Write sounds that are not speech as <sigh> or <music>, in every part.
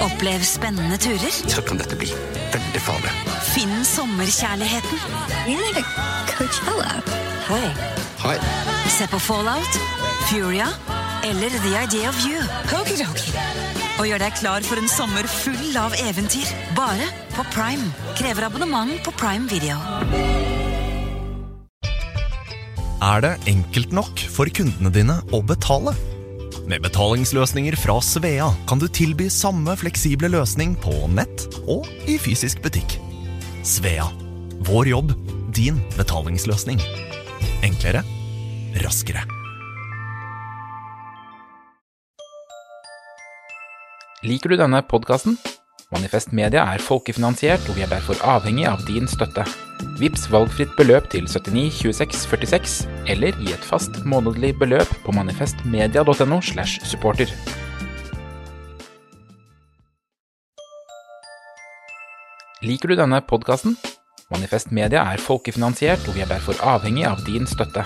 Opplev spennende turer. Så kan dette bli veldig farlig. Finn sommerkjærligheten. Hei. Hei. Se på Fallout, Furia eller The Idea of You. Og gjør deg klar for en sommer full av eventyr. Bare på Prime. Krever abonnement på Prime Video. er det enkelt nok for kundene dine å betale. Med betalingsløsninger fra Svea kan du tilby samme fleksible løsning på nett og i fysisk butikk. Svea vår jobb, din betalingsløsning. Enklere, raskere. Liker du denne podkasten? Manifest Media er folkefinansiert, og vi er derfor avhengig av din støtte. Vips valgfritt beløp til 79 26 46, eller gi et fast månedlig beløp på manifestmedia.no. slash supporter. Liker du denne podkasten? Manifest Media er folkefinansiert, og vi er derfor avhengig av din støtte.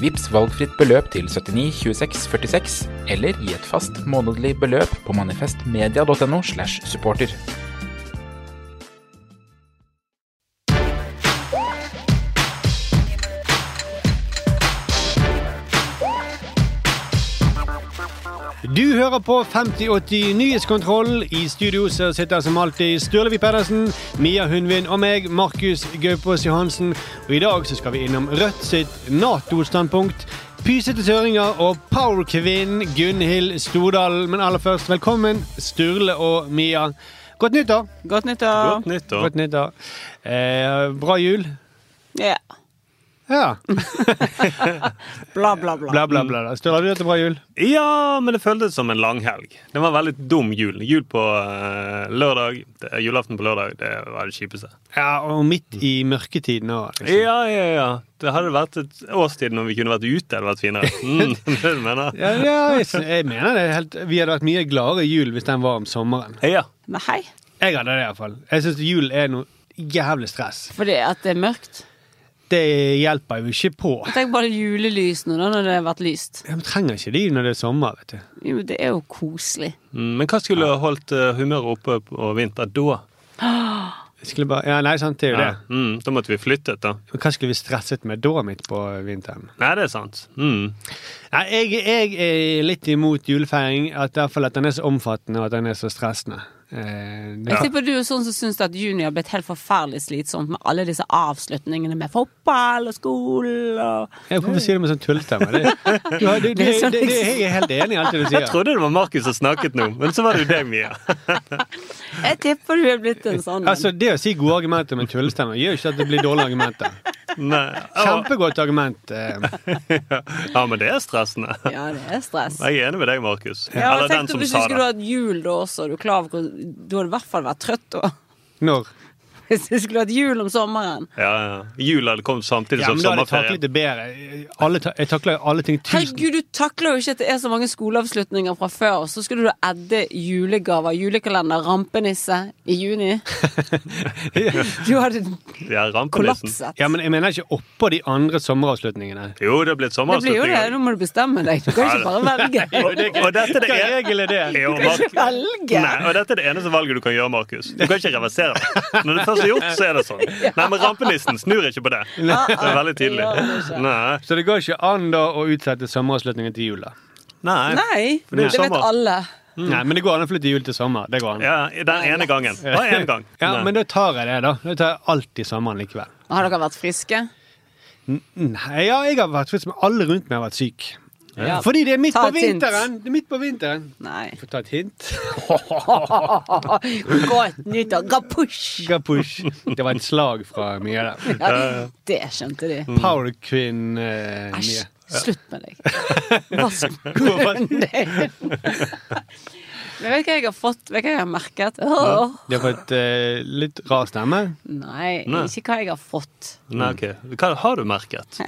Vips valgfritt beløp til 79 26 46, eller gi et fast månedlig beløp på manifestmedia.no. slash supporter. Du hører på 5080 Nyhetskontroll. I studio så sitter som alltid Sturlevi Pedersen, Mia Hundvin og meg, Markus Gaupås Johansen. Og i dag så skal vi innom Rødt sitt Nato-standpunkt. Pysete søringer og powerkvinn Gunhild Stordalen. Men aller først, velkommen Sturle og Mia. Godt nyttår! Godt nyttår. Godt nyttår. Godt nyttår. Eh, bra jul. Ja. Ja. Bla, bla, bla. Bla, bla, bla. Sturle, har du hatt en bra jul? Ja, men det føltes som en langhelg. Det var en veldig dum jul. Jul på eh, lørdag, det, er julaften på lørdag, det var det kjipeste. Ja, og midt i mørketiden nå. liksom. Ja, ja, ja. Det hadde vært et årstid når vi kunne vært ute, det hadde vært <laughs> finere. Mm, det er det du mener? Ja, ja, jeg, s- jeg mener det. er Helt, vi hadde vært mye gladere i jul hvis den var om sommeren. Ja. Men hei, Jeg hadde det i hvert fall. Jeg syns jul er noe jævlig stress. fordi at det er mørkt. Det hjelper jo ikke på. Tenk bare julelysene da, når det har vært lyst. Jeg trenger ikke de når det er sommer. vet du. Jo, det er jo koselig. Mm, Men hva skulle holdt eh, humøret oppe på vinter da? Jeg skulle bare, ja, nei, sant, det er jo Ja. det. Mm, da måtte vi flyttet, da. Men Hva skulle vi stresset med da midt på vinteren? Nei, det er sant. Mm. Nei, jeg, jeg er litt imot julefeiring. At, i hvert fall at den er så omfattende og at den er så stressende. Eh, det, Jeg tipper du er sånn som syns at juni har blitt helt forferdelig slitsomt med alle disse avslutningene med fotball og skole og jeg, hvorfor sier du med sånn tullestemme? Det, du har- du- du- Det er det, sånn- det, jeg er helt enig i alt det du Jeg sier. trodde det var Markus som snakket nå, men så var det jo deg, <laughs> Mia. Jeg tipper du er blitt en sånn en. Altså, Det å si gode argumenter med tullestemme gjør jo ikke at det blir dårlige <laughs> argumenter. Nei. Å, Kjempegodt argument. eh. Ja, men det er stressende. Ja, det er stress. Jeg er enig med deg, Markus. Ja, men Eller den tenk om som du sa ikke skulle det. hatt jul da også. Du, er klar over hvor- du hadde i hvert fall vært trøtt da. <laughs> Når? Hvis du skulle hatt jul om sommeren. Ja, ja. Jul hadde kommet samtidig Ja, som men da hadde jeg sommerferien. taklet det bedre. Alle ta jeg takler alle ting tusen Herregud, du takler jo ikke at det er så mange skoleavslutninger fra før, og så skulle du edde julegaver, julekalender, rampenisse i <laughs> juni. Du hadde Ja, rampenissen. kollapset. Ja, men jeg mener ikke oppå de andre sommeravslutningene. Jo, det er Det blir jo det, blitt sommeravslutninger. nå må du bestemme deg. Du kan Ja, ikke bare velge. Og dette er det Hva ene regel er det? Jo, Du kan Mark- ikke velge. Nei, og dette er det eneste valget du kan gjøre, Markus. Du kan ikke reversere det. Når det først er gjort, så er det sånn. Nei, men rampenissen snur ikke på det. Det er veldig tydelig. Ah, Det gjør det ikke. Nei. Så det går ikke an da å utsette sommeravslutningen til jul, da. Nei. Nei, For det det er vet sommer. alle. Nei, men det går an å flytte jul til sommer. Det går an. Mm. Ja, den ene gangen. Bare én gang. Ja, Nei. men da tar jeg det, da. Da tar jeg alltid sommeren likevel. Har dere vært friske? Nei, ja, jeg har vært frisk, men alle rundt meg har vært syk. Ja. Fordi det er midt Ta på et hint. vinteren! Det er midt på vinteren. Nei. <laughs> Får ta et hint. Godt nyttår. Gapush! Gapush. Det var et slag fra Mia der. Ja, det skjønte de. Power Queen eh, Æsj. Mia. <laughs> Slutt med deg. Vask munnen din. <laughs> Men vet du hva jeg har fått? Vet du hva jeg har merket? Ja. Åh. Du har fått eh, litt rar stemme. Nei, Nei. ikke hva jeg har fått. Nei, ok. Hva har du merket?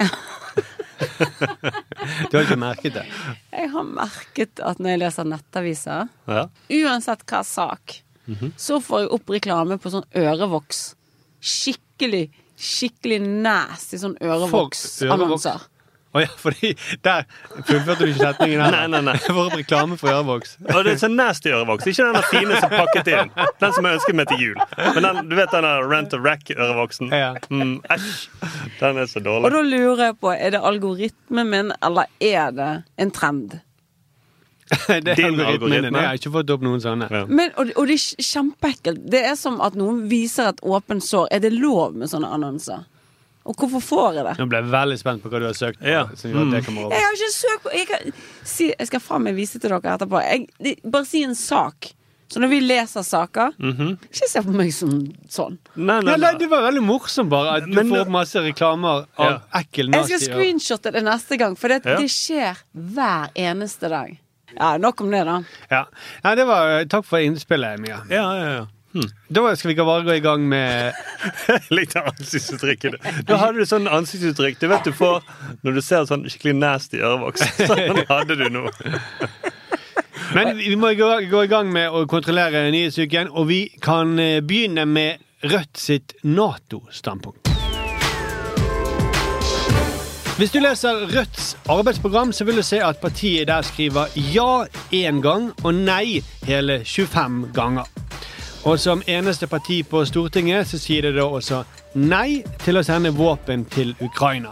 Du har ikke merket det. Jeg har merket at når jeg leser nettaviser, Ja. uansett hva sak, så får jeg opp reklame på sånn ørevoks. Skikkelig, skikkelig nasty sånn ørevoksannonser. Å ja, fordi Der fullførte du ikke setningen. her. Nei, nei, nei. Jeg får opp reklame for ørevoks. Og det er så nasty ørevoks. Ikke den der fine som pakket inn. Den som jeg ønsket meg til jul. Men den, du vet den der Rent a Rack-ørevoksen? Ja. Mm, æsj. Den er så Og dårlig. da lurer jeg på, er det algoritmen min, eller er det en trend? <laughs> Det er Din algoritmen algoritme. din. Jeg har ikke fått opp noen sånne. Ja. Men, og, og det er kjempeekkelt. Det er som at noen viser et åpent sår. Er det lov med sånne annonser? Og hvorfor får jeg det? Nå ble jeg veldig spent på hva du har søkt på. Ja. Som gjør at det kommer Jeg opp. har ikke søkt på Jeg, kan, si, jeg skal faen meg vise til dere etterpå. Jeg, det, bare si en sak. Så når vi leser saker Mhm. Ikke se på meg som sånn. Nei, Ja, nei, nei, det nei. var veldig morsomt, bare. At du Men- eh, får opp masse reklamer av Ja. ekkel Jeg skal nasty øre. screenshotte det neste gang, for det, Ja. det skjer hver eneste dag. Ja, nok om det, da. Ja. Nei, det var, eh, takk for innspillet, Mia. Ja, ja, ja. Da skal vi bare gå i gang med Likte ansiktsuttrykket. <laughs> Da hadde du sånn ansiktsuttrykk du vet du får når du ser sånn skikkelig nasty <laughs> ørevoks. Sånn hadde du nå. Men vi må gå, gå i gang med å kontrollere nyhetsuken, og vi kan eh, begynne med Rødt sitt Nato-standpunkt. Hvis du leser Rødts arbeidsprogram, så vil du se at partiet der skriver ja én gang og nei hele 25 ganger. Og som eneste parti på Stortinget så sier det da også nei til å sende våpen til Ukraina.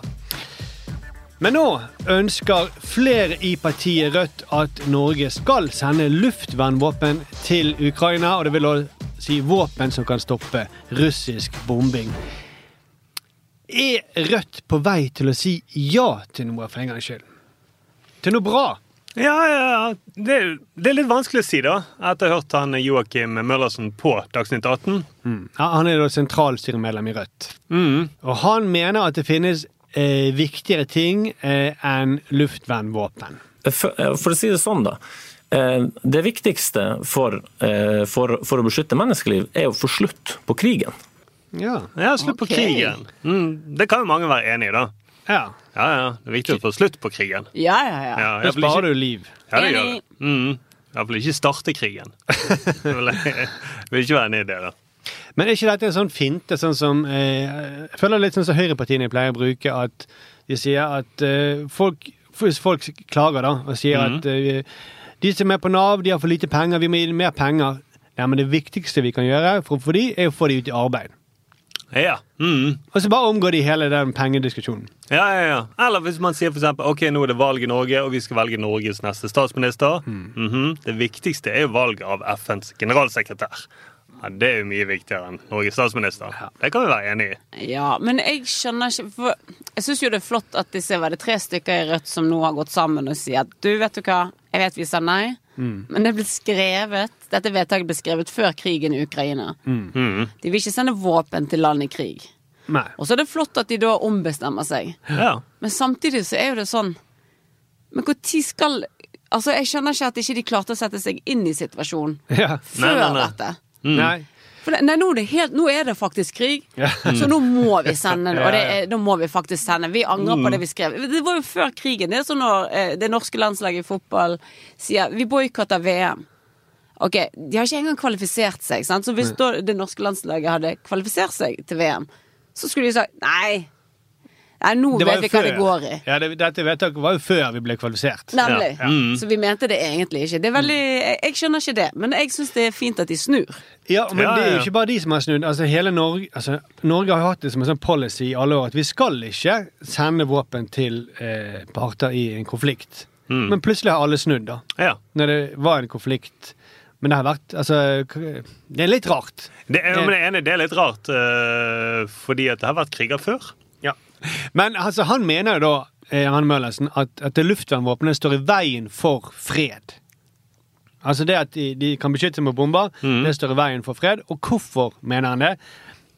Men nå ønsker flere i partiet Rødt at Norge skal sende luftvernvåpen til Ukraina. Og det vil også si våpen som kan stoppe russisk bombing. Er Rødt på vei til å si ja til noe, for en gangs skyld? Til noe bra? Ja, ja, ja. Det, er- det er litt vanskelig å si, da. Etter å ha hørt han Joakim Møllersen på Dagsnytt 18. Ja, han er da sentralstyremedlem i Rødt. Og han mener at det finnes eh, viktigere ting eh, enn luftvernvåpen. for, for å si det sånn, da. eh, Det viktigste for, eh, for, for å beskytte menneskeliv er å få slutt på krigen. Ja. Ja, slutt på Ok. krigen. Mm, det kan jo mange være enig i, da. ja. Ja, ja. Det er viktig å få slutt på krigen. Ja, ja, ja. Ja, Da jeg vil sparer ikke, du liv. ja det gjør det. Mm. Iallfall ikke starte krigen. Jeg vil- jeg vil ikke være enig i det. da. Men er ikke dette en sånn finte, sånn som eh, Jeg føler litt sånn som høyrepartiene pleier å bruke, at de sier at eh, folk Hvis folk klager, da, og sier at eh, de som er på Nav, de har for lite penger, vi må gi dem mer penger. Nei, men det viktigste vi kan gjøre for, for de, er å få de ut i arbeid. Ja. Mm. Og så bare omgår de hele den pengediskusjonen. <laughs> Ja, ja, ja. Eller hvis man sier for eksempel, ok, nå er det valg i Norge, og vi skal velge Norges neste statsminister. Mhm. Det viktigste er jo valg av FNs generalsekretær. Ja, det er jo mye viktigere enn Norges statsminister. Det kan vi være enig i. Ja, men jeg skjønner ikke for Jeg syns jo det er flott at disse var det tre stykker i Rødt som nå har gått sammen og sier at du, vet du hva, jeg vet vi sa nei, men det ble skrevet Dette vedtaket ble skrevet før krigen i Ukraina. Mm. De vil ikke sende våpen til land i krig. Nei. Og så er det flott at de da ombestemmer seg. Ja. Men samtidig så er jo det sånn Men når skal Altså, jeg skjønner ikke at ikke de klarte å sette seg inn i situasjonen Ja. før Nei, nei, nei. dette. Nei. For det, nei, nå er, det helt, nå er det faktisk krig, <laughs> så nå må vi sende det. Og det er, nå må vi faktisk sende. Vi angrer på det vi skrev. Det var jo før krigen. Det er sånn når eh, det norske landslaget i fotball sier vi boikotter VM. Ok, De har ikke engang kvalifisert seg. Sant? Så hvis da det norske landslaget hadde kvalifisert seg til VM, så skulle de sagt nei. Nei, nå Det var vet jo vi hva det går i. Ja, det, dette vedtaket var jo før vi ble kvalifisert. Nemlig. Ja. Mm. Så vi mente det egentlig ikke. Det er veldig, jeg, jeg skjønner ikke det, men jeg syns det er fint at de snur. Ja, men Ja, ja, det er jo ja. ikke bare de som har snudd. Altså, hele Norge, altså, Norge har jo hatt det som en sånn policy i alle år at vi skal ikke sende våpen til eh, parter i en konflikt. Mm. Men plutselig har alle snudd, da. ja. Når det var en konflikt. Men det har vært Altså, k- det er litt rart. Det er, men jeg er enig, det er litt rart, eh, fordi at det har vært kriger før. Men altså, han mener jo da, eh, han Møllersen, at, at det luftvernvåpenet står i veien for fred. Altså det at de, de kan beskytte seg mot bomber, det står i veien for fred. Og hvorfor mener han det?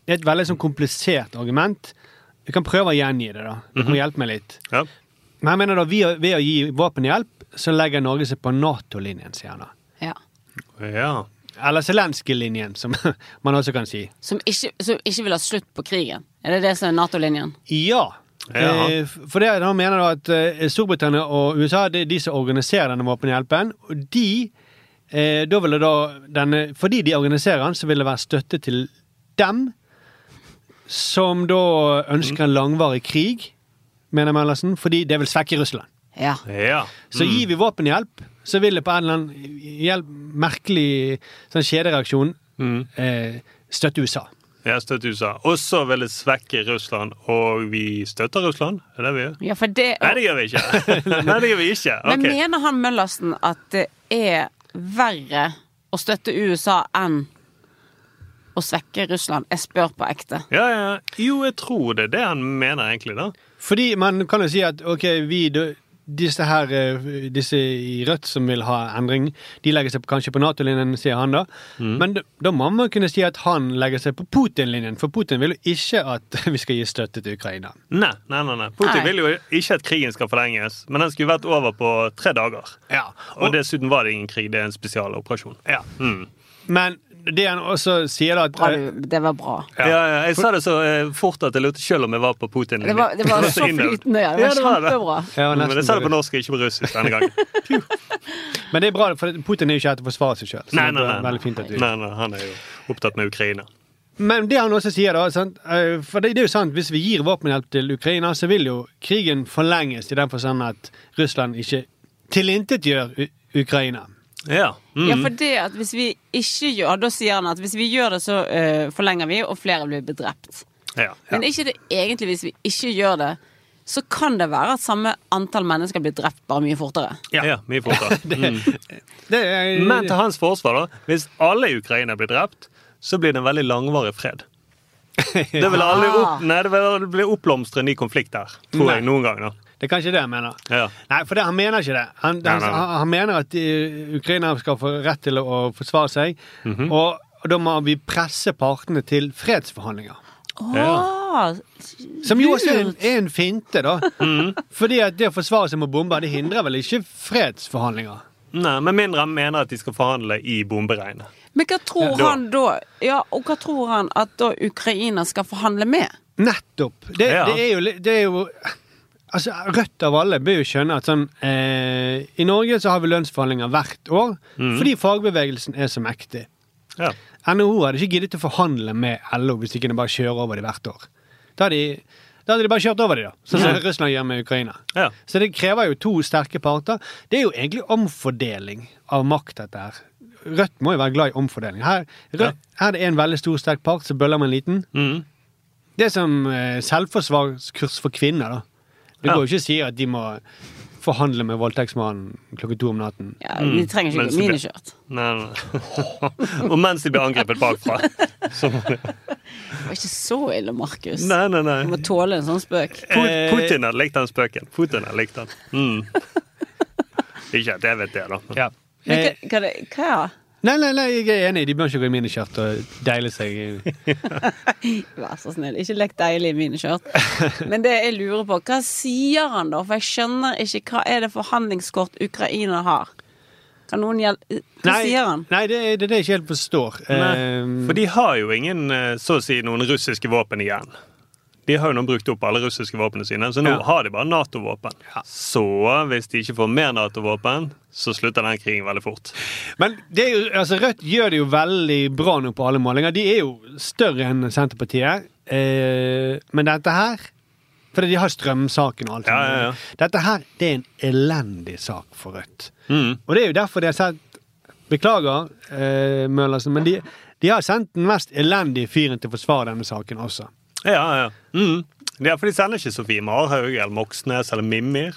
Det er et veldig sånn komplisert argument. Vi kan prøve å gjengi det, da. Du må hjelpe meg litt. Ja. Men han mener da, ved, å- ved å gi våpenhjelp, så legger Norge seg på Nato-linjen, sier han da. Ja. Ja. Eller Zelenskyj-linjen, som <laughs> man også kan si. Som ikke, som ikke vil ha slutt på krigen. Er det det som er Nato-linjen? Ja. Ja. Eh, For det han mener da at eh, Storbritannia og USA det er de som organiserer denne våpenhjelpen. Og de, eh, da vil det da denne, Fordi de organiserer den, så vil det være støtte til dem som da ønsker en langvarig krig, mener Mellersen, fordi det vil svekke Russland. Ja. ja. Så gir vi våpenhjelp, så vil det på en eller annen hjelp, merkelig sånn kjedereaksjon eh, støtte USA. Jeg støtter USA. Og så vil det svekke Russland, og vi støtter Russland? Er det vi gjør? ja for det, Nei, det gjør vi <laughs> ikke. Nei, det gjør vi ikke. Men Ok. mener han Møllersen at det er verre å støtte USA enn å svekke Russland? Jeg spør på ekte. Ja, ja. Jo, jeg tror det er det han mener, egentlig. da. Fordi man kan jo si at ok, vi dø- disse her, eh, disse i Rødt som vil ha endring, de legger seg på- kanskje på Nato-linjen, sier han da. Mm. Men da- da må man kunne si at han legger seg på Putin-linjen, for Putin vil jo ikke at <laughs> vi skal gi støtte til Ukraina. Nei, nei, nei. nei. Nei. Putin vil jo ikke at krigen skal forlenges, men den skulle vært over på tre dager. Ja, Og dessuten var det ingen krig, det er en spesialoperasjon. Ja. Mm. Men det han også sier da at eh, Bra, Eh. du. Det var bra. Ja. Ja, jeg sa det så eh, fort at jeg lurte sjøl om jeg var på Putin. Det var, <laughs> det var så flytende. Ja. Det var kjempebra. Ja, nesten Men jeg sa det på på norsk, ikke på russisk denne <laughs> gangen. russ. Men det er bra, for Putin er jo ikke her til å forsvare seg sjøl. Nei, nei, nei, nei. Veldig fint at du nei, nei. Han er jo opptatt med Ukraina. Men det han også sier, da sant? eh, For det, det er jo sant, hvis vi gir våpenhjelp til Ukraina, så vil jo krigen forlenges i den forstand at Russland ikke tilintetgjør U- Ukraina. Ja. Mm. Ja, for det at hvis vi ikke gjør Da sier han at hvis vi gjør det, så eh, forlenger vi, og flere blir drept. ja. Men er ikke det egentlig hvis vi ikke gjør det, så kan det være at samme antall mennesker blir drept bare mye fortere. Ja. ja, mye <laughs> fortere. Mm. Det er, Men til hans forsvar, da. Hvis alle i Ukraina blir drept, så blir det en veldig langvarig <laughs> fred. Det vil aldri opp, nei, det vil bli oppblomstre en ny konflikt der, tror jeg, noen gang. da. det er kanskje det han mener. Ja. Nei, for det, han mener ikke det. Han, Nei, han, nei, nei. han, han mener at eh, Ukraina skal få rett til å forsvare seg, Mhm. og, og da må vi presse partene til fredsforhandlinger. Ja. Åh, Som jo også er en, er en finte, da. Mhm. Fordi at det å forsvare seg med bomber, det hindrer vel ikke fredsforhandlinger? Nei, Med mindre han mener at de skal forhandle i bomberegnet. Men hva tror Ja. han da Ja, og hva tror han at da Ukraina skal forhandle med? Nettopp. Det, Ja. det, er jo, li- det er jo Altså, Rødt av alle bør jo skjønne at sånn eh, I Norge så har vi lønnsforhandlinger hvert år fordi fagbevegelsen er så mektig. Ja. NHO hadde ikke giddet å forhandle med LO hvis de kunne bare kjøre over dem hvert år. Da hadde de, da hadde de bare kjørt over dem, da. Sånn som Russland gjør med Ukraina. Ja. Så det krever jo to sterke parter. Det er jo egentlig omfordeling av makt, dette her. Rødt må jo være glad i omfordeling. Her, Rødt, her er det en veldig stor, sterk part, så bøller med en liten. Mm. Det er som eh, selvforsvarskurs for kvinner, da. Det Ja. går jo ikke å si at de må forhandle med voldtektsmannen klokken to om natten. Ja, De trenger Mm. men ikke så blir- miniskjørt. Nei, <laughs> nei. Og mens de blir angrepet <laughs> bakfra. Det var ikke så ille, Markus. Nei, nei, Du må nei. tåle en sånn spøk. Pu- Putin hadde likt den spøken. Putin hadde likt den. Mm. Ikke at jeg vet det, da. Ja. Men hva, Eh, hva, det- hva ja? nei, nei, nei, jeg er enig. De bør ikke gå i miniskjørt og deile seg. i- Vær så snill, ikke lek deilig i miniskjørt. Men det jeg lurer på, hva sier han da? For jeg skjønner ikke hva er det forhandlingskort Ukraina har? Kan noen hjelpe Hva Nei, sier han? Nei, det er det, er det jeg ikke helt forstår. Nei, Eh, for de har jo ingen eh, så å si noen russiske våpen igjen. De har jo nå brukt opp alle russiske våpnene sine, så nå Ja. har de bare Nato-våpen. Så hvis de ikke får mer Nato-våpen, så slutter den krigen veldig fort. Men det er jo, altså, Rødt gjør det jo veldig bra nå på alle målinger. De er jo større enn Senterpartiet. Eh, men dette her For de har strømsaken og alt. Ja, sånt. ja, ja. Dette her det er en elendig sak for Rødt. Mm. Og det er jo derfor de har sendt Beklager, eh, Møllersen, men de, de har sendt den mest elendige fyren til å forsvare denne saken også. Ja, ja. Mm. ja for de sender ikke Sofie Marhaug eller Moxnes eller Mimir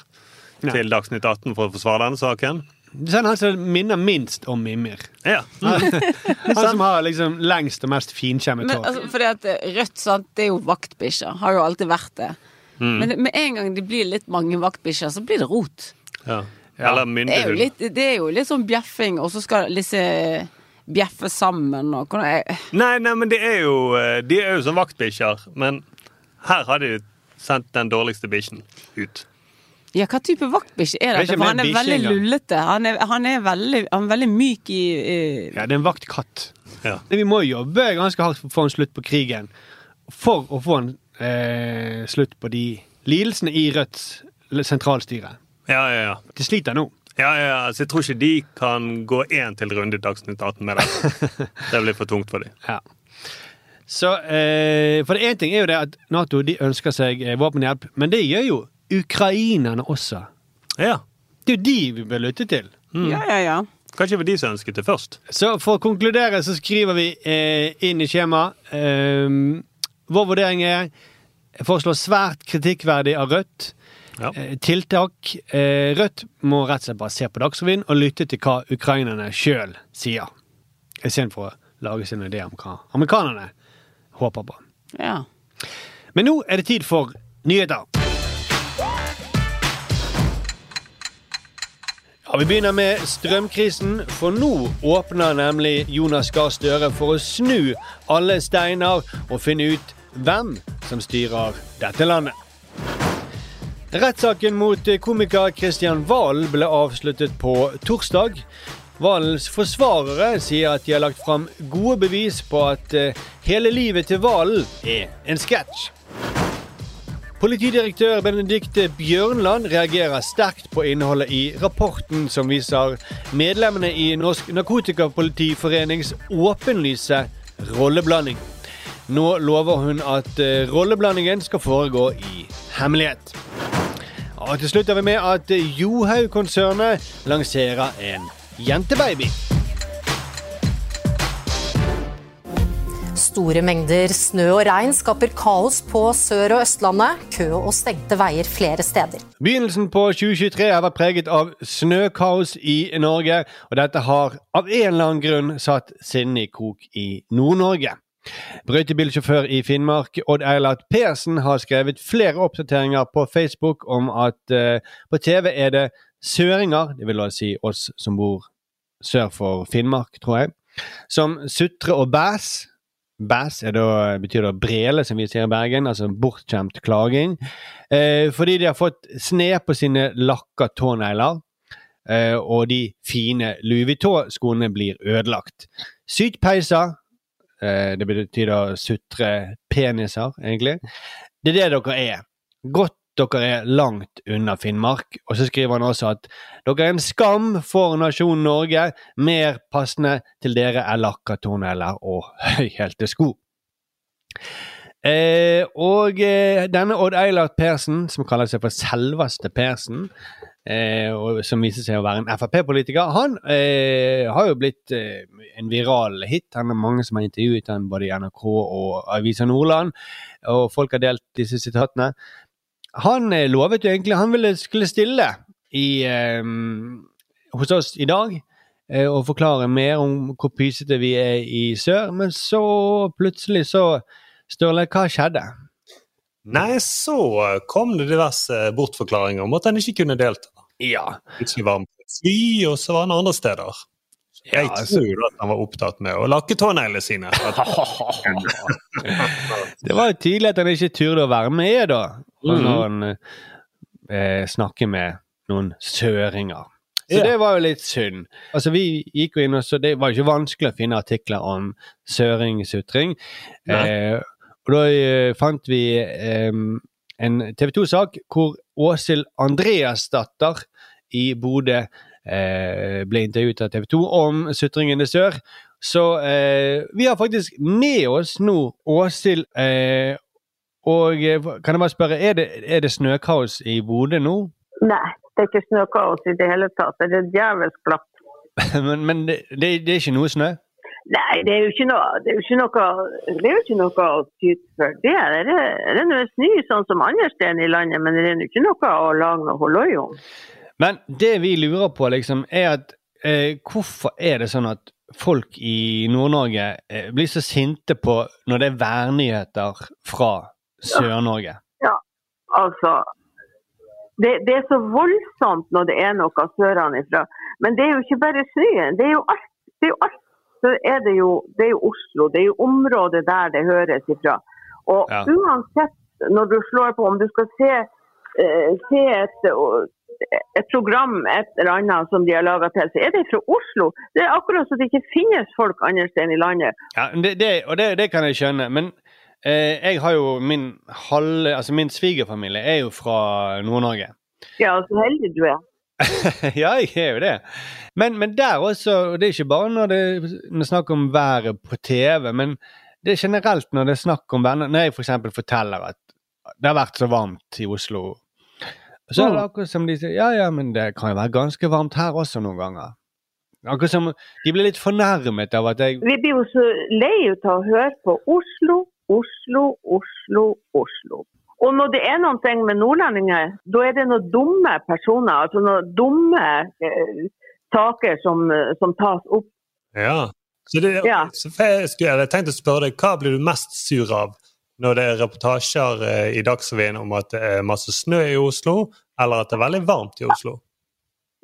Nei. til Dagsnytt 18 for å forsvare denne saken. De sender han som minner minst om Mimir. Ja. Han som har liksom lengst og mest finkjemmet Men, hår. altså, fordi at eh, Rødt sant, det er jo vaktbikkjer. Har jo alltid vært det. Mm. Men med en gang det blir litt mange vaktbikkjer, så blir det rot. ja. Eller Det er, jo myndehund. litt, det er jo litt sånn bjeffing, og så skal disse bjeffe sammen og hvordan eh, er- Nei, nei, men det er jo, eh, de er jo som vaktbikkjer. Men her har de sendt den dårligste bikkjen ut. Ja, hva type vaktbikkje er Det er ikke dette? For mer han er bikkje veldig engang. lullete. Han er, han er, veldig, han er veldig myk i eh, Ja, det er en vaktkatt. Ja. Men Vi må jobbe ganske hardt for å få en slutt på krigen. For å få en eh, slutt på de lidelsene i Rødts l- sentralstyre. Ja, ja, ja. De sliter nå. Ja, ja, ja. Altså, jeg tror ikke de kan gå én til runde i Dagsnytt 18 med <laughs> det. Det blir for tungt for dem. Ja. Så, eh, for det ene ting er jo det at Nato de ønsker seg eh, våpenhjelp, men det gjør jo ukrainerne også. Ja. Det er jo de vi bør lytte til. Ja, ja, ja. Kanskje det var de som ønsket det først. Så for å konkludere så skriver vi eh, inn i skjemaet eh, Vår vurdering er foreslå svært kritikkverdig av Rødt. Ja. Eh, tiltak eh, Rødt må rett og slett bare se på Dagsrevyen og lytte til hva ukrainerne sjøl sier. Istedenfor å lage sine ideer om hva amerikanerne håper på. ja. Men nå er det tid for nyheter. Ja, Vi begynner med strømkrisen, for nå åpner nemlig Jonas Gahr Støre for å snu alle steiner og finne ut hvem som styrer dette landet. Rettssaken mot komiker Kristian Valen ble avsluttet på torsdag. Valens forsvarere sier at de har lagt fram gode bevis på at eh, hele livet til Valen er en sketsj. Politidirektør Benedikte Bjørnland reagerer sterkt på innholdet i rapporten som viser medlemmene i Norsk Narkotikapolitiforenings åpenlyse rolleblanding. Nå lover hun at eh, rolleblandingen skal foregå i hemmelighet. Og til slutt er vi med at Johaug-konsernet lanserer en jentebaby. Store mengder snø og regn skaper kaos på Sør- og Østlandet. Kø og stengte veier flere steder. Begynnelsen på 2023 har vært preget av snøkaos i Norge, og dette har av en eller annen grunn satt sinnet i krok i Nord-Norge. Brøytebilsjåfør i Finnmark, Odd Eilert Persen, har skrevet flere oppdateringer på Facebook om at eh, på TV er det søringer, det vil da si oss som bor sør for Finnmark, tror jeg, som sutrer og bæs. Bæs er da, betyr da brele, som vi sier i Bergen, altså bortskjemt klaging. Eh, fordi de har fått sne på sine lakka tånegler, eh, og de fine Louis Vuitton-skoene blir ødelagt. Sytpeiser, eh, det betyr da sutre peniser, egentlig. Det er det dere er. Godt dere er langt unna Finnmark. Og så skriver han også at dere er en skam for nasjonen Norge. Mer passende til dere er lakka tånegler og <laughs> høyhælte sko. Eh, og eh, denne Odd Eilert Persen, som kaller seg for selveste Persen, eh, og som viser seg å være en Frp-politiker, han eh, har jo blitt eh, en viral hit. Han er mange som har intervjuet han både i NRK og Avisa Nordland, og folk har delt disse sitatene. Han eh, lovet jo egentlig han ville skulle stille i, eh, hos oss i dag eh, og forklare mer om hvor pysete vi er i sør, men så plutselig så Sturle, hva skjedde? Nei, så kom det diverse bortforklaringer om at han ikke kunne delta. Ja. Plutselig var han på et fly, og så var han andre steder. Jeg Ja, altså- tror jo at han var opptatt med å lakke <laughs> tåneglene sine. <laughs> Det var jo tydelig at han ikke turde å være med, da. Mhm. Og når han eh, snakker med noen søringer. Så Ja. det var jo litt synd. Altså, vi gikk jo inn og så Det var jo ikke vanskelig å finne artikler om søringsutring. Nei. Eh, og da eh, fant vi eh, en TV 2-sak hvor Åshild Andreasdatter i Bodø eh, ble intervjuet av TV 2 om sutringen i sør. Så eh, vi har faktisk med oss nå Åshild. Eh, og eh, kan jeg bare spørre, er det, er det snøkaos i Bodø nå? <laughs> Nei, det er ikke snøkaos i det hele tatt. Det er djevelsk glatt. men men det, det, det er ikke noe snø? Nei, det er jo ikke noe Det er jo ikke noe, det er jo ikke noe å tyde for. Det er, det er- det er noe snø sånn som andre steder i landet, men det er jo ikke noe å lage noe holloi om. Men det vi lurer på, liksom, er at eh, hvorfor er det sånn at folk i Nord-Norge eh, blir så sinte på når det er værnyheter fra Sør-Norge? Altså det, det er så voldsomt når det er noe sørenfra. Men det er jo ikke bare snøen. Det er jo alt. Det er jo alt. Så er det, jo, det er jo Oslo. Det er jo området der det høres ifra. Og Ja. uansett når du slår på om du skal se eh, se et, et program et eller annet som de har laga til, så er det fra Oslo. Det er akkurat som det ikke finnes folk andre steder i landet. Ja, men det, det, og det, det kan jeg skjønne, men eh, jeg har jo min halve Altså, min svigerfamilie er jo fra Nord-Norge. Ja, så heldig du er. <laughs> ja, jeg er jo det. Men, men der også, og det er ikke bare når det er snakk om været på TV, men det er generelt når det er snakk om venner Når jeg f.eks. For forteller at det har vært så varmt i Oslo, så er det akkurat som de sier Ja, ja, men det kan jo være ganske varmt her også noen ganger. Akkurat som de blir litt fornærmet av at jeg Vi blir jo så lei ut av å høre på Oslo, Oslo, Oslo, Oslo. Og når det er noen ting med nordlendinger, da er det noen dumme personer, altså noen dumme eh, saker som, eh, som tas opp. Ja. Så, det, Ja. så jeg skulle jeg tenkt å spørre deg, hva blir du mest sur av når det er reportasjer eh, i Dagsrevyen om at det er masse snø i Oslo, eller at det er veldig varmt i Oslo?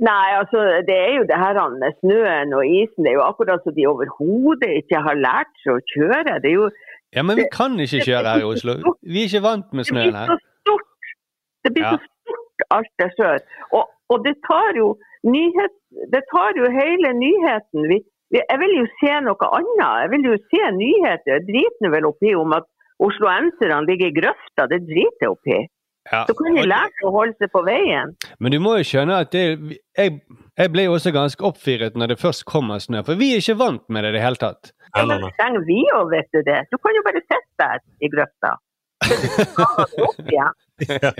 Nei, altså det er jo det her han med snøen og isen, det er jo akkurat som de overhodet ikke har lært seg å kjøre. Det er jo Ja, men vi kan ikke kjøre her i Oslo. Vi er ikke vant med Det snøen blir her. så stort. Det blir Ja. så stort alt det skjer. Og, og det tar jo nyhet, det tar jo hele nyheten. Vi, vi, jeg vil jo se noe annet. Jeg vil jo se nyheter. Jeg driter nå vel oppi om at osloenserne ligger i grøfta. Det driter jeg oppi. Ja. Så kan de lære seg å holde seg på veien. Men du må jo skjønne at det jeg, jeg ble jo også ganske oppfiret når det først kommer snø, for vi er ikke vant med det i det hele tatt. Ja, men trenger vi òg, vet du det. Du kan jo bare sitte der <laughs> i grøfta. Så du tar det opp igjen. <laughs> ja.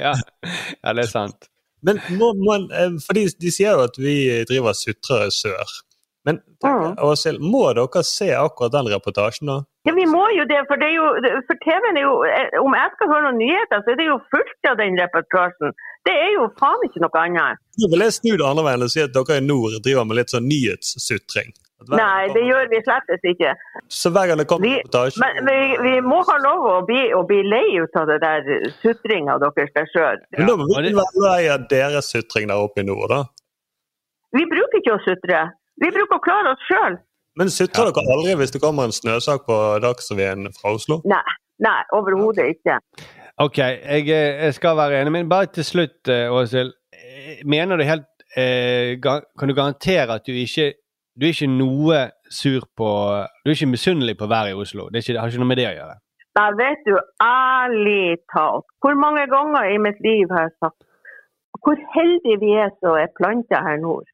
ja, det er sant. Men må man, eh, fordi de sier jo at vi driver og sutrer sør. Men Mm. Åshild, må dere se akkurat den reportasjen, da? Ja, vi må jo det, for, det er jo, for TV-en er jo eh, Om jeg skal høre noen nyheter, så er det jo fullt av den reportasjen. Det er jo faen ikke noe annet. Nå vil jeg snu det andre veien og si at dere i nord driver med litt sånn nyhetssutring. At hver gang Nei, det kommer- gjør vi slettes ikke. Så hver gang det kommer Vi, en reportasje men vi, vi må ha lov å bli, å bli lei ut av det der sutringa deres der sjøl. Men da må og vi det- være lei av deres sutring der oppe i nord, da. Vi bruker ikke å sutre. Vi bruker å klare oss sjøl. Men sutrer dere aldri hvis det kommer en snøsak på Dagsrevyen fra Oslo? Nei, nei overhodet ikke. Ok, jeg, eh, jeg skal være enig, men bare til slutt, eh, Åshild. Eh, Mener du helt eh, ga- Kan du garantere at du ikke Du er ikke noe sur på Du er ikke misunnelig på været i Oslo? Det, er ikke, det har ikke noe med det å gjøre? Nei, vet du, ærlig talt, hvor mange ganger i mitt liv har jeg sagt hvor heldige vi er som er planta her nord.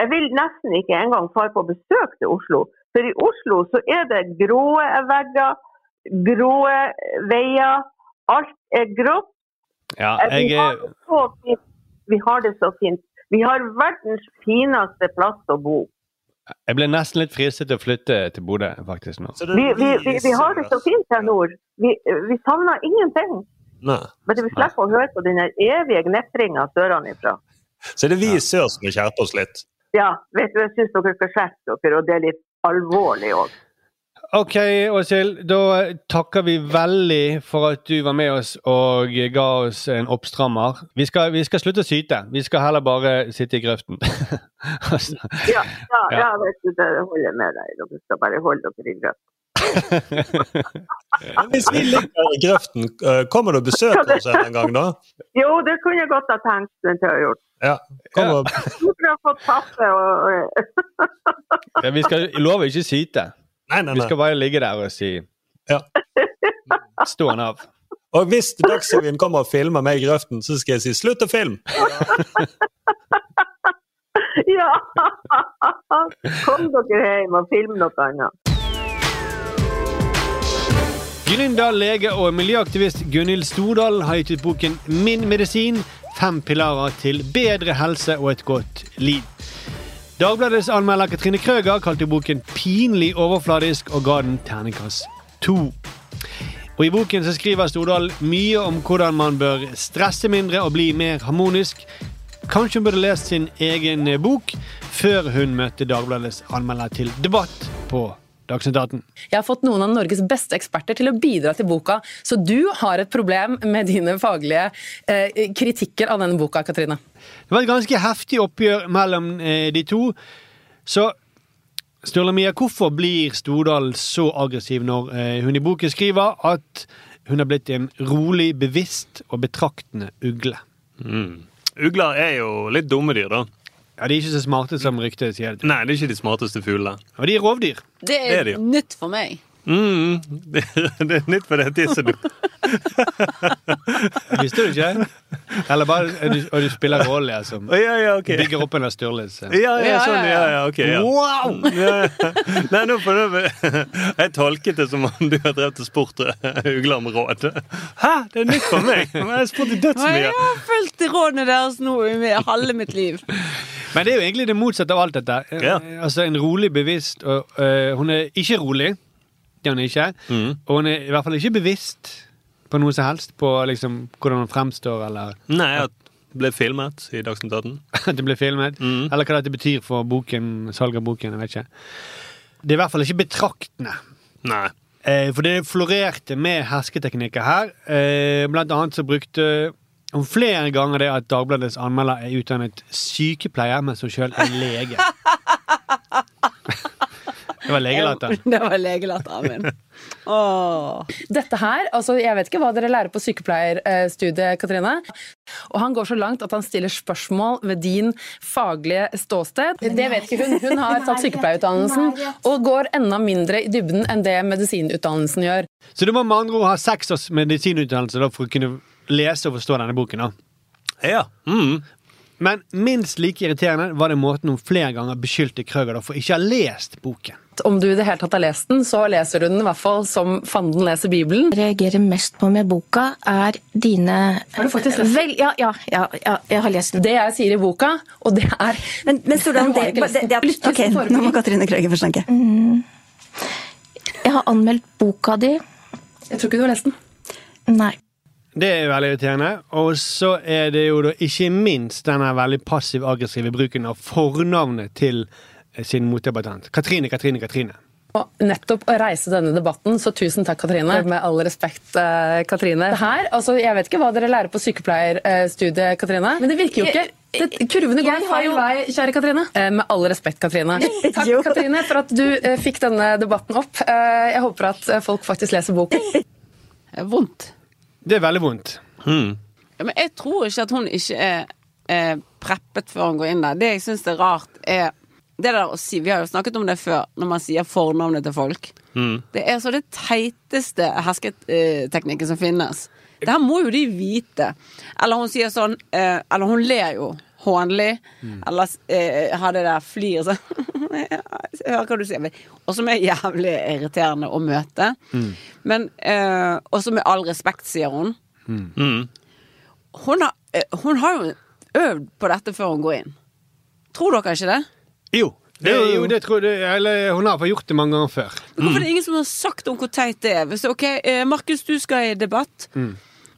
Jeg vil nesten ikke engang fare på besøk til Oslo, for i Oslo så er det grå vegger, grå veier, alt er grått. Ja, Vi jeg eh, har er det så fint. Vi har det så fint. Vi har verdens fineste plass å bo. Jeg ble nesten litt fristet til å flytte til Bodø, faktisk, nå. Så det er Vi, vi, vi, vi har det så sør. altså. fint her nord. Vi, vi savner ingenting. Nei. Men vi slipper å høre på den der evige gnetringa sørenifra. Så det er vi i sør som må skjerpe oss litt. Ja, vet du, jeg syns dere skal skjerpe dere, og det er litt alvorlig òg. Ok, Åshild. Da takker vi veldig for at du var med oss og ga oss en oppstrammer. Vi skal, vi skal slutte å syte. Vi skal heller bare sitte i grøften. <laughs> Altså, Ja, ja, <laughs> Ja. ja, vet du, det holder jeg med deg. Dere skal bare holde dere i grøt. <laughs> Men hvis vi ligger i grøften, eh, kommer du og besøker oss en gang da? Jo, det kunne jeg godt ha tenkt meg til å ha gjort. Ja. Kom og Skulle ha fått kaffe og og- ja, vi skal love å ikke syte. <laughs> Nei, nei, Vi nei. skal bare ligge der og si Ja. Stående av. Og hvis Dagsrevyen kommer og filmer meg i grøften, så skal jeg si 'slutt å filme'! Ja! Kom dere hjem og film noe annet. Gründer, lege og miljøaktivist Gunhild Stordal har gitt ut boken Min medisin. Fem pilarer til bedre helse og et godt liv. Dagbladets anmelder Katrine Krøger kalte boken pinlig overfladisk og ga den terningkast to. Og I boken så skriver Stordal mye om hvordan man bør stresse mindre og bli mer harmonisk. Kanskje hun burde lest sin egen bok før hun møtte Dagbladets anmelder til debatt på Dagsnytt 18. Jeg har fått noen av Norges beste eksperter til å bidra til boka, så du har et problem med dine faglige eh, kritikker av denne boka, Katrine. Det var et ganske heftig oppgjør mellom eh, de to. Så Sturla Mia, hvorfor blir Stordal så aggressiv når eh, hun i boken skriver at Hun har blitt en rolig, bevisst og betraktende ugle. Mm. Ugler er jo litt dumme dyr, da. Ja, De er ikke så smarte som ryktet sier. Nei, de er ikke de smarteste fuglene. Og de er rovdyr. Det er, det jo. nytt for meg. Mm, <laughs> det, det er nytt for det de er så dumme. Visste du ikke? Eller bare, du, og du spiller rolle, altså. Ja, ja, <laughs> ok. Bygger opp under størrelse. Ja, ja, sånn, ja, ja, ok. Ja. Wow! Ja, ja. Nei, nå får du Jeg tolket det som om du har drevet og spurt eh, ugler om råd. Hæ? Det er nytt for meg! Men jeg spurte Jeg dødsmye. har fulgt rådene deres nå i mi- halve mitt liv. Men det er jo egentlig det motsatte av alt dette. Eh, Altså En rolig, bevisst og, eh, Hun er ikke rolig. Det er hun ikke. Mm. Og hun er i hvert fall ikke bevisst på noe som helst, på liksom hvordan hun fremstår, eller <laughs> Nei, jeg ble filmet i Dagsnytt 18. at det ble filmet, eller hva dette betyr for boken, salg av boken. jeg vet ikke. Det er i hvert fall ikke betraktende. Nei. Eh, For det florerte med hersketeknikker her. Eh, Blant annet så brukte hun flere ganger det at Dagbladets anmelder er utdannet sykepleier, mens hun sjøl er lege. Det var legelatter. <laughs> Det var legelatteren min. Dette her, altså Jeg vet ikke hva dere lærer på sykepleierstudiet, Katrine. Og han går så langt at han stiller spørsmål ved din faglige ståsted. Det vet ikke hun. Hun har tatt sykepleierutdannelsen og går enda mindre i dybden enn det medisinutdannelsen gjør. Så du må med andre ord ha seks års medisinutdannelse da, for å kunne lese og forstå denne boken. da. Mm. Ja. Men minst like irriterende var det måten hun flere ganger beskyldte Krøger da, for ikke å ha lest boken. Om du i det hele tatt har lest den, så leser du den i hvert fall som fanden leser Bibelen. reagerer mest på med boka, er dine Har du faktisk lest den? Vel, ja, ja, ja, ja, jeg har lest den. Det jeg sier i boka, og det er Men, men Stordalen, det, Jeg har ikke lest det, det er den. Ok, nå må Katrine Krøger få snakke. Mm. Jeg har anmeldt boka di. Jeg tror ikke du har lest den. Nei. Det er veldig irriterende. Og så er det jo da ikke minst denne veldig passiv-aggressive bruken av fornavnet til eh, sin motdebattant. Katrine, Katrine, Katrine. Og nettopp å reise denne debatten, så tusen takk, Katrine. Med all respekt, eh, Katrine. Det Her, altså, jeg vet ikke hva dere lærer på sykepleierstudiet, Katrine, men det virker jo ikke. Det, kurvene går Jeg har feil jo- vei, kjære Katrine. Eh, Med all respekt, Katrine. Takk, Katrine, for at du eh, fikk denne debatten opp. Eh, Jeg håper at eh, folk faktisk leser boken. Vondt. Det er veldig vondt. Ja, men jeg tror ikke at hun ikke er eh, preppet før hun går inn der. Det jeg syns er rart, er det der å si Vi har jo snakket om det før, når man sier fornavnet til folk. Det er så det teiteste hersketeknikken som finnes. Det her må jo de vite. Eller hun sier sånn eh, Eller hun ler jo hånlig. Eller eh, har det der flir sånn <laughs> Jeg hører hva du sier. men- Og som er jævlig irriterende å møte. Men eh, Og som med all respekt, sier hun. Hun har, eh, hun har jo øvd på dette før hun går inn. Tror dere ikke det? Jo. Det, er jo, det tror jeg, eller Hun har fått gjort det mange ganger før. Men Hvorfor er det ingen som har sagt om hvor teit det er? Hvis, ok, eh, Markus, du skal i debatt, Mm.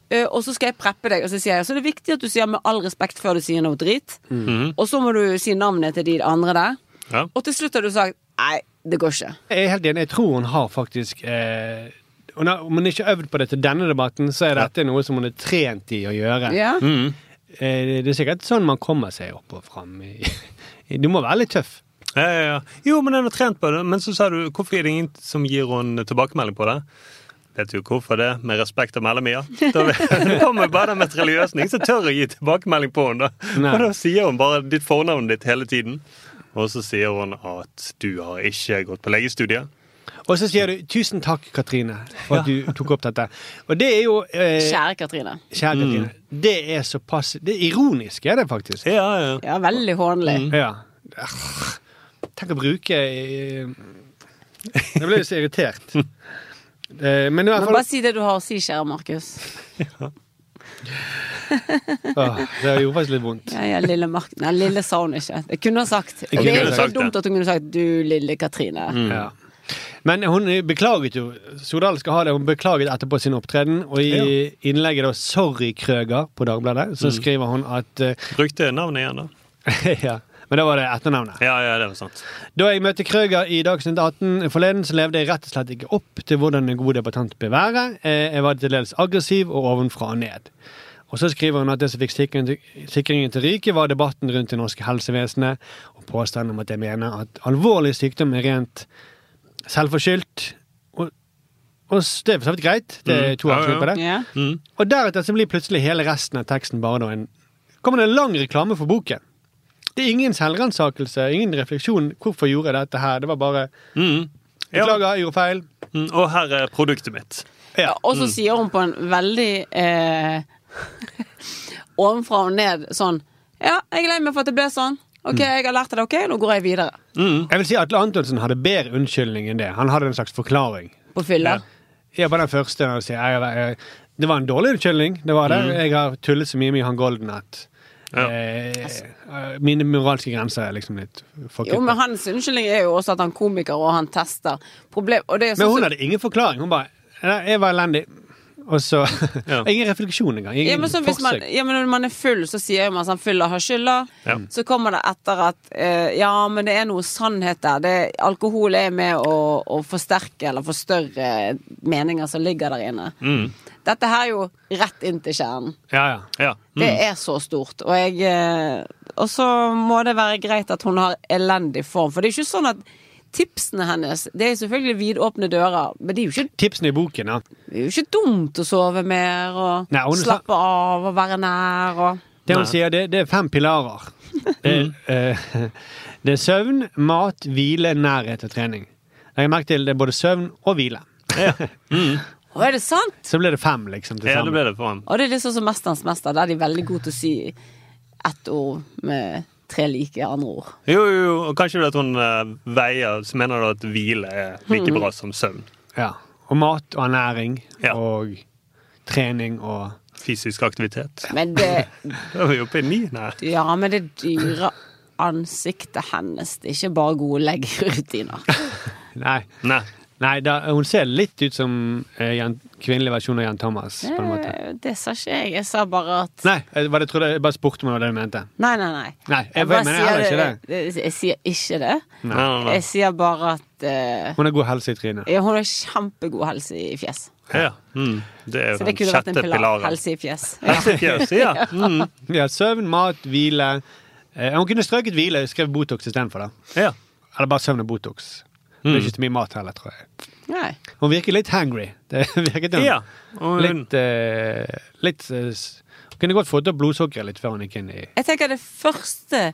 eh, og så skal jeg preppe deg. Og så sier jeg, så det er viktig at du sier med all respekt før du sier noe drit. Mm. Og så må du si navnet til de andre der. Ja. Og til slutt har du sagt nei, det går ikke. Jeg er helt enig. Jeg tror hun har faktisk eh, hun har, Om hun ikke har øvd på det til denne debatten, så er dette noe som hun er trent i å gjøre. Ja. Mm. Eh, det er sikkert sånn man kommer seg opp og fram. i- <laughs> Du må være litt tøff. Ja, ja, ja. Jo, men den har trent på det. Men så sa du hvorfor er det ingen som gir henne tilbakemelding på det? Vet du hvorfor det? Med respekt å melde, Mia. Da <laughs> vi- kommer bare den meteriøse. Ingen som tør å gi tilbakemelding på henne. da. Nei. Og da sier hun bare ditt fornavn ditt hele tiden. Og så sier hun at du har ikke gått på legestudiet. Og så sier du 'tusen takk, Katrine, for at du tok opp dette'. Og det er jo eh, Kjære Katrine. Kjære Katrine. Det er såpass Det er ironisk, er det faktisk. Ja, Ja, veldig hånlig. ja. Arr. Tenk å bruke eh, Jeg ble så irritert. Eh, Men i Men hvert fall bare si det du har å si, kjære Markus. Åh, Det gjorde faktisk litt vondt. Ja, ja, lille Mark... Nei, lille sa hun ikke. Det kunne hun sagt. kunne Og det er hun jo så sagt det. dumt at hun kunne sagt du, lille Katrine. Ja. Men hun beklaget jo. Stordal skal ha det. Hun beklaget etterpå sin opptreden. Og i innlegget da 'Sorry, Krøger' på Dagbladet, så Mm. skriver hun at eh, Brukte navnet igjen, da. <laughs> ja. Men da var det etternavnet. Ja, ja, det var sant. Da jeg møtte Krøger i Dagsnytt 18 forleden, så levde jeg rett og slett ikke opp til hvordan en god debattant bør være. Eh, Jeg var til dels aggressiv og ovenfra og ned. Og så skriver hun at det som fikk sikringen til, sikringen til ryke, var debatten rundt det norske helsevesenet og påstanden om at jeg mener at alvorlig sykdom er rent selvforskyldt. Og Og s- det er for så vidt greit. Det er to Mm. Ja, avsnitt på ja. det. Og deretter så blir plutselig hele resten av teksten bare da en Kommer det en lang reklame for boken. Det er ingen selvransakelse, ingen refleksjon. Hvorfor gjorde jeg dette her? Det var bare Beklager, jeg gjorde feil. Mm, og her er produktet mitt. Og så Mm. sier hun på en veldig eh, ovenfra og ned sånn Ja, jeg er lei meg for at det ble sånn. Mm. OK, jeg har lært av dere, nå går jeg videre. Jeg vil si Atle Antonsen hadde bedre unnskyldning enn det. Han hadde en slags forklaring. På fylla. Ja, på den første. når han sier, jeg, jeg, det var en dårlig unnskyldning. Det var det. Mm. Jeg har tullet så mye med han Golden at eh, mine moralske grenser er liksom litt fucket. Jo, men hans unnskyldning er jo også at han er komiker, og han tester. Problem, og det er Men sånn hun som- hadde ingen forklaring. Hun bare Nei, jeg var elendig. Og så <laughs> Ingen refleksjon engang. Ingen ja, men så hvis man, forsøk. ja, men når man er full, så sier man sånn 'fylla har skylda'. Ja. Så kommer det etter at eh, Ja, men det er noe sannhet der. Det, alkohol er med å, å forsterke eller forstørre meninger som ligger der inne. Mm. Dette her er jo rett inn til kjernen. Ja, ja. Det Mm. er så stort. Og, jeg, eh, og så må det være greit at hun har elendig form. For det er jo ikke sånn at tipsene hennes Det er selvfølgelig vidåpne dører, men det er jo ikke Tipsene i boken, ja. det er jo ikke dumt å sove mer og Nei, hun- slappe av og være nær og Det hun sier, det, det er fem <laughs> pilarer. Det er, Mm. eh, det er søvn, mat, hvile, nærhet og trening. Jeg merket til det er både søvn og hvile. Og er det sant? Så ble det fem, liksom, til Ja, sammen. det ble det for ham. Og det er litt sånn som Mesterens mester, der er de veldig gode til å si ett ord med tre like andre ord. Jo, jo, jo, og kanskje det at hun eh, veier Så mener du at hvile er like Mm. bra som søvn. Ja. Og mat og ernæring og trening og Fysisk aktivitet. Men det Da er vi oppe i ni. Nei. Ja, men det dyre ansiktet hennes, det er ikke bare gode leggerutiner. Nei. Nei. da, hun ser litt ut som eh, Jan, kvinnelig versjon av Jan Thomas, på en måte. Eh, Det sa ikke jeg. Jeg sa bare at Nei, jeg, bare, trodde, jeg bare spurte om det var det du mente. Nei, nei, nei. Nei, jeg, bare mener jeg heller sier ikke det. det- Jeg sier ikke det. Nei, nei, nei. Jeg sier bare at eh, Hun har god helse i trynet. ja, hun har kjempegod helse i fjes. Ja. Mm. Det er jo Så det sånn den kunne vært en sjette pilar. pilaren. Helse i fjes. <laughs> Helse i fjes, <laughs> <laughs> ja. Mm. Ja, søvn, mat, hvile. Eh, hun kunne strøket hvile, skrev Botox istedenfor. da. Ja. Eller bare søvn og Botox. Det er Mm. ikke så mye mat heller, tror jeg. Nei. Hun virker litt hangry. Det <laughs> virket hun. Ja, og hun- Litt, eh, litt eh, s- Hun kunne godt fått opp blodsukkeret litt før hun gikk inn i Jeg tenker det første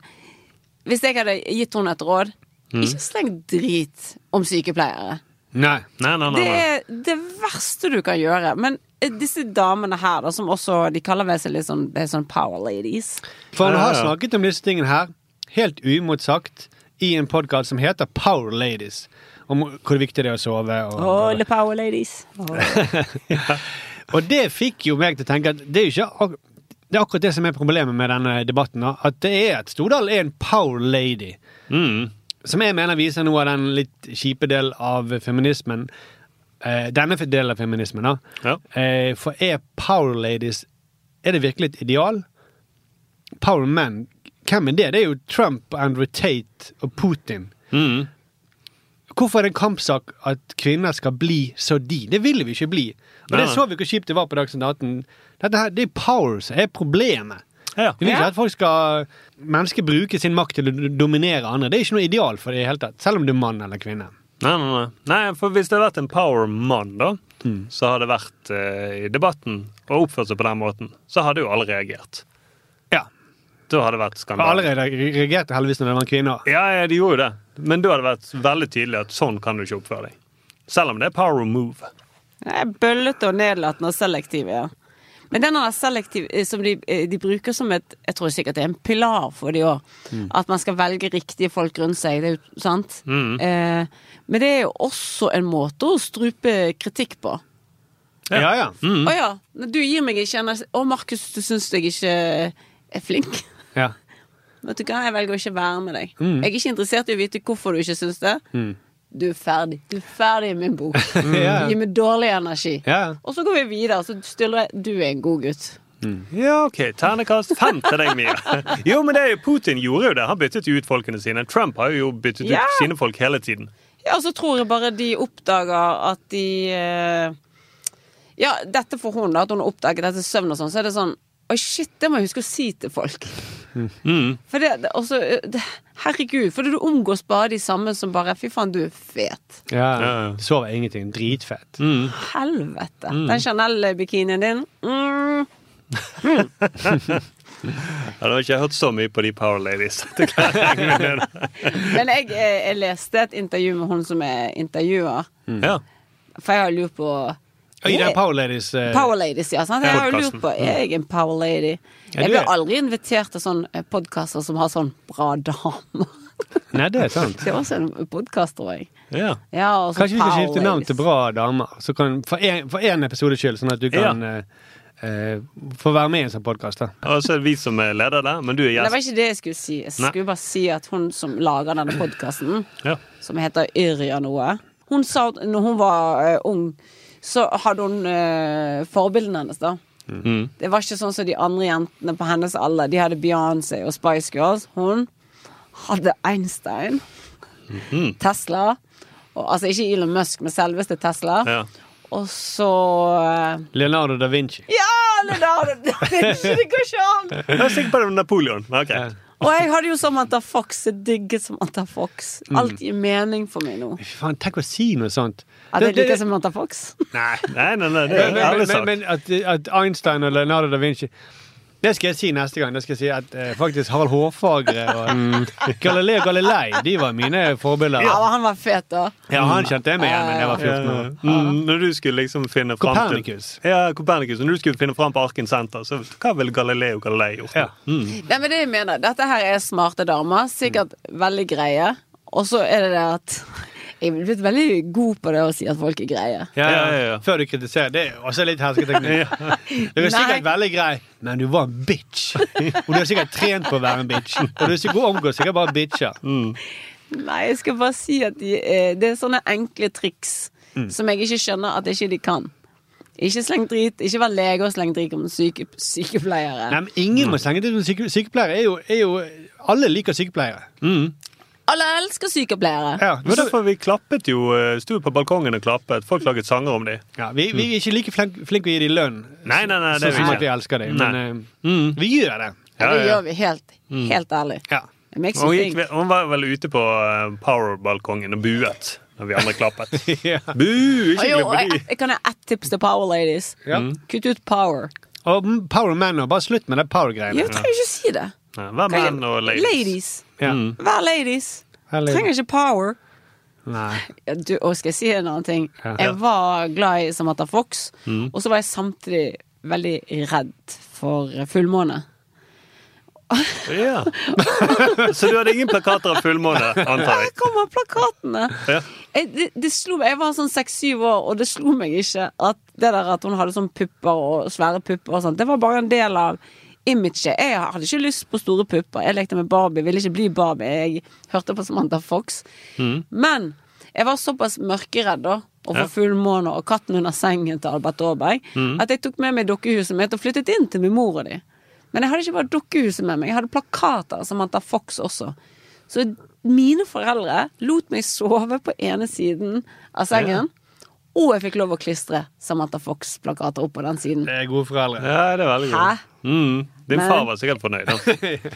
Hvis jeg hadde gitt henne et råd Mm. Ikke sleng drit om sykepleiere. Nei. Nei, nei, Det er det verste du kan gjøre. Men eh, disse damene her, da, som også De kaller vel seg litt sånn, det er sånn power ladies. For hun har snakket om disse tingene her, helt uimotsagt, i en podkast som heter Power Ladies. Om hvor viktig det er å sove. Og, All the power ladies. Og det fikk jo meg til å tenke at det er jo ikke ak det er akkurat det som er problemet med denne debatten. da, At det er at Stordal er en power lady. Som jeg mener viser noe av den litt kjipe del av feminismen. Eh, denne delen av feminismen, da. Eh, for er power ladies Er det virkelig et ideal? Power men, hvem er det? Det er jo Trump, Andrew Tate og Putin. Mm, Hvorfor er det en kampsak at kvinner skal bli så de? Det ville vi ikke bli. Og Nei, det nei. så vi hvor kjipt det var på Dagsnytt 18. Dette her, det er power som er problemet. Vi vil ikke at folk skal Mennesker bruker sin makt til å do- dominere andre. Det er ikke noe ideal for det i hele tatt. Selv om du er mann eller kvinne. Nei, nei, nei. nei, for hvis det hadde vært en power man, da, så hadde det vært eh, i debatten og oppført seg på den måten, så hadde jo alle reagert. Ja. Da hadde det vært Og skandale. allerede re- reagerte heldigvis når det var en kvinne. Ja, ja, de gjorde jo det. Men da hadde det vært veldig tydelig at sånn kan du ikke oppføre deg. Selv om det er power move. Jeg er bøllete og nedlatende og selektiv, ja. Men den der selektiv eh, som de, eh, de bruker som et Jeg tror sikkert det er en pilar for de òg. Mm. At man skal velge riktige folk rundt seg. Det er jo sant. Mm. Eh, men det er jo også en måte å strupe kritikk på. Ja, Mm. ja. Å ja, du gir meg ikke en Å, Markus, du syns jeg ikke er flink. <laughs> Ja. Vet du hva, jeg velger å ikke være med deg. Mm. Jeg er ikke interessert i å vite hvorfor du ikke syns det. Mm. Du er ferdig. Du er ferdig i min bok. <laughs> Ja. Gi meg dårlig energi. Ja. Og så går vi videre, så stiller jeg Du er en god gutt. Ja, OK. Ternekast fem til deg, Mia. Jo, men det er jo Putin gjorde jo det. Han byttet jo ut folkene sine. Trump har jo byttet Ja. ut sine folk hele tiden. Ja, og så tror jeg bare de oppdager at de eh, Ja, dette for hun, da, at hun har oppdaget dette søvn og sånn, så er det sånn Oi, shit, det må jeg huske å si til folk. For det, det- også, eh, det, herregud, for du omgås bare de samme som bare Fy faen, du er fet. Ja, Mm. Sover ingenting. Dritfett. Helvete. Mm. Den Chanel-bikinien din. Mm. Mm. Ja, det har ikke jeg hørt så mye på de Power Ladies. <laughs> Det klarer jeg ikke med det. Men jeg, eh, jeg leste et intervju med hun som er intervjuer, Mm. Ja. for jeg har lurt på Oi, det er Power Ladies. eh, Power Ladies, ja. Sant? Jeg har jo lurt på, Podcasten. er jeg en power lady? Ja, Jeg du blir er. aldri invitert til sånne podkaster som har sånn bra damer. <laughs> Nei, det er sant. Det er også en podkast, tror jeg. Ja. Ja, og så Kanskje vi skal Power skifte navn Ladies. til Bra damer, så kan, for en- for én episodes skyld, sånn at du kan eh, eh, få være med i en sånn podkast. Og så er det vi som er leder der, men du er Nei, Det var gjest. ikke det jeg skulle si. Jeg Nei. skulle bare si at hun som lager denne podkasten, Ja. som heter Yrja noe Hun sa at når hun var eh, ung, så hadde hun eh, forbildene hennes, da. Mm. Det var ikke sånn som de andre jentene på hennes alder. De hadde Beyoncé og Spice Girls. Hun hadde Einstein, Mhm. Tesla og, Altså ikke Elon Musk, men selveste Tesla. Ja. Og så eh, Leonardo da Vinci. Ja, Leonardo! da Vinci, Det <laughs> går ikke an! Jeg var sikker på det var Napoleon. Men ok. Og jeg hadde jo Samantha Fox. Jeg digget Samantha Fox. Mm. Alt gir mening for meg nå. Fy faen, tenk å si noe sånt. At jeg liker Samantha Fox. Nei. Nei, nei, nei, det er Men, en ærlig men, sak. men, men at, at Einstein og Leonardo da Vinci Det skal jeg si neste gang. Det skal jeg si at eh, faktisk Harald Hårfagre og Galileo Galilei De var mine forbilder. Ja, han var fet, da. Ja, han kjente jeg meg igjen, men jeg var 14 år. Mm, når du skulle liksom finne fram Copernicus. til Ja, Copernicus. Når du skulle finne fram på Arken Senter, så hva ville Galileo Galilei gjort? da? Mm. Nei, men det jeg mener, Dette her er smarte damer. Sikkert veldig greie. Og så er det det at Jeg er blitt veldig god på det å si at folk er greie. Ja, ja, ja, ja. Eh, Før du kritiserer. Det er også litt <laughs> hersketeknikk. Du er sikkert veldig grei, men du var en bitch. Og du har sikkert trent på å være en bitch. Og du er sikkert omgås sikkert bare bitcher. Nei, jeg skal bare si at de, eh, det er sånne enkle triks Mm. som jeg ikke skjønner at ikke de kan. Ikke sleng drit. Ikke vær lege og sleng drit om syke, sykepleiere. Nei, men ingen må slenge til syke, sykepleiere. Er jo, er jo, alle liker sykepleiere. Alle elsker sykepleiere. Det var derfor vi klappet jo. eh, Sto på balkongen og klappet. Folk laget sanger om dem. Ja, vi, vi er ikke like flinke flink å gi dem lønn. Nei, nei, nei, det Sånn er vi som ikke. at vi elsker dem. Men Nei. eh, vi gjør det. Ja, det gjør vi helt, Mm. helt ærlig. <laughs> It makes Og you Hun, think. gikk, ve- hun var vel ute på eh, Power-balkongen og buet når vi andre <laughs> klappet. Bu! Og Ikke jo, og glemme jeg, de! jeg kan ha ett tips til Power Ladies. Ja. Mm. Kutt ut Power. Og mm, power man, og bare slutt med det power-greiene. Jeg trenger ikke si det. Ja, Vær Kan menn og ladies. Ladies. Ja. Mm. Vær ladies. Vær lady. Trenger ikke power. Nei. Ja, Du, og skal jeg si en annen ting? Ja. Jeg var glad i Samantha Fox, Mm. og så var jeg samtidig veldig redd for fullmåne. Ja. <laughs> Så du hadde ingen plakater av fullmåne, antar jeg? Her kommer plakatene! Ja. Jeg, det, det slo meg, jeg var sånn seks-syv år, og det slo meg ikke at det der at hun hadde sånn pupper og svære pupper og sånt, det var bare en del av imaget. Jeg hadde ikke lyst på store pupper. Jeg lekte med Barbie, ville ikke bli Barbie. Jeg hørte på Samantha Fox. Mm. Men jeg var såpass mørkeredd da, og Ja. for fullmåne og katten under sengen til Albert Aaberg, Mm. Mhm. at jeg tok med meg dukkehuset mitt og flyttet inn til min mor og de. Men jeg hadde ikke bare dukkehuset med meg, jeg hadde plakater av Samantha Fox også. Så mine foreldre lot meg sove på ene siden av sengen. Og jeg fikk lov å klistre Samantha Fox-plakater opp på den siden. Det er gode foreldre. Ja, det er veldig Hæ? godt. Mm. Din Men- far var sikkert fornøyd.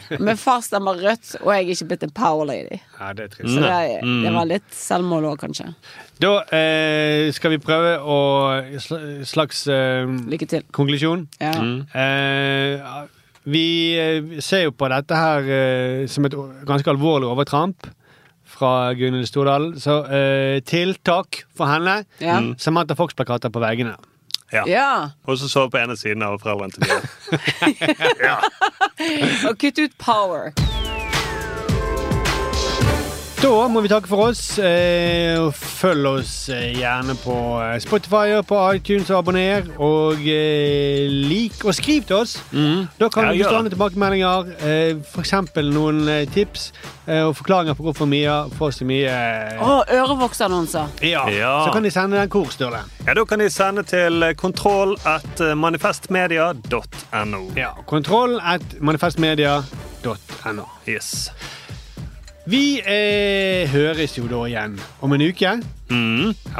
da. Men far stemmer rødt, og jeg er ikke blitt en power lady. Ja, det er trist. Så det, er- Mm. det var litt selvmål òg, kanskje. Da eh, skal vi prøve å sl- slags eh, Lykke til. konklusjon. Ja. Eh, vi eh, ser jo på dette her eh, som et o- ganske alvorlig overtramp fra Gunhild Stordalen. Så eh, tiltak for henne. Ja. Samantha Fox-plakater på veggene. Ja. Ja. Og så sov på ene siden av foreldrene til Bjørn. Og kutt ut power. Da må vi takke for oss. eh, og Følg oss eh, gjerne på eh, Spotify og på iTunes og abonner. Og eh, lik og skriv til oss. Da kan vi Ja, gjør få det. stående tilbakemeldinger. eh, For eksempel noen eh, tips eh, og forklaringer på hvorfor Mia får så mye eh, Og ørevoksannonser. ja. Ja. Så kan de sende den hvor, Sturle. Ja, Da kan de sende til eh, kontroll at eh, manifestmedia.no. Ja. Kontroll at manifestmedia.no. Yes. Vi eh, høres Mm. jo da igjen om en uke. Ja,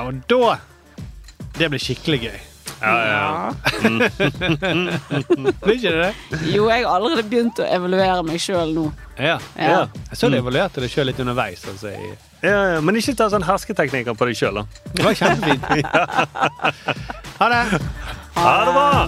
og da Det blir skikkelig gøy. Ja, ja. Mm. Blir ikke det det? Jo, jeg har allerede begynt å evaluere meg sjøl nå. Ja. Ja. ja. Jeg så du evaluerte det sjøl litt underveis. Altså, i ja, ja, men ikke ta sånn hersketeknikker på deg sjøl, da. Det var kjempefint. Ha det. Ha det bra!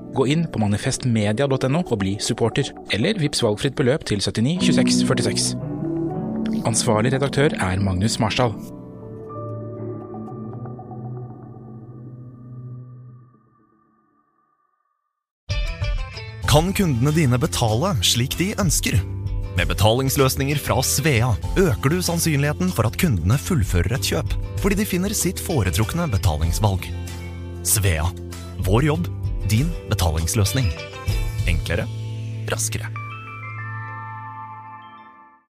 Gå inn på manifestmedia.no og bli supporter, eller vips valgfritt beløp til 79 26 46. Ansvarlig redaktør er Magnus Marsdal. Kan kundene dine betale slik de ønsker? Med betalingsløsninger fra Svea øker du sannsynligheten for at kundene fullfører et kjøp, fordi de finner sitt foretrukne betalingsvalg. Svea vår jobb, din betalingsløsning. Enklere, raskere.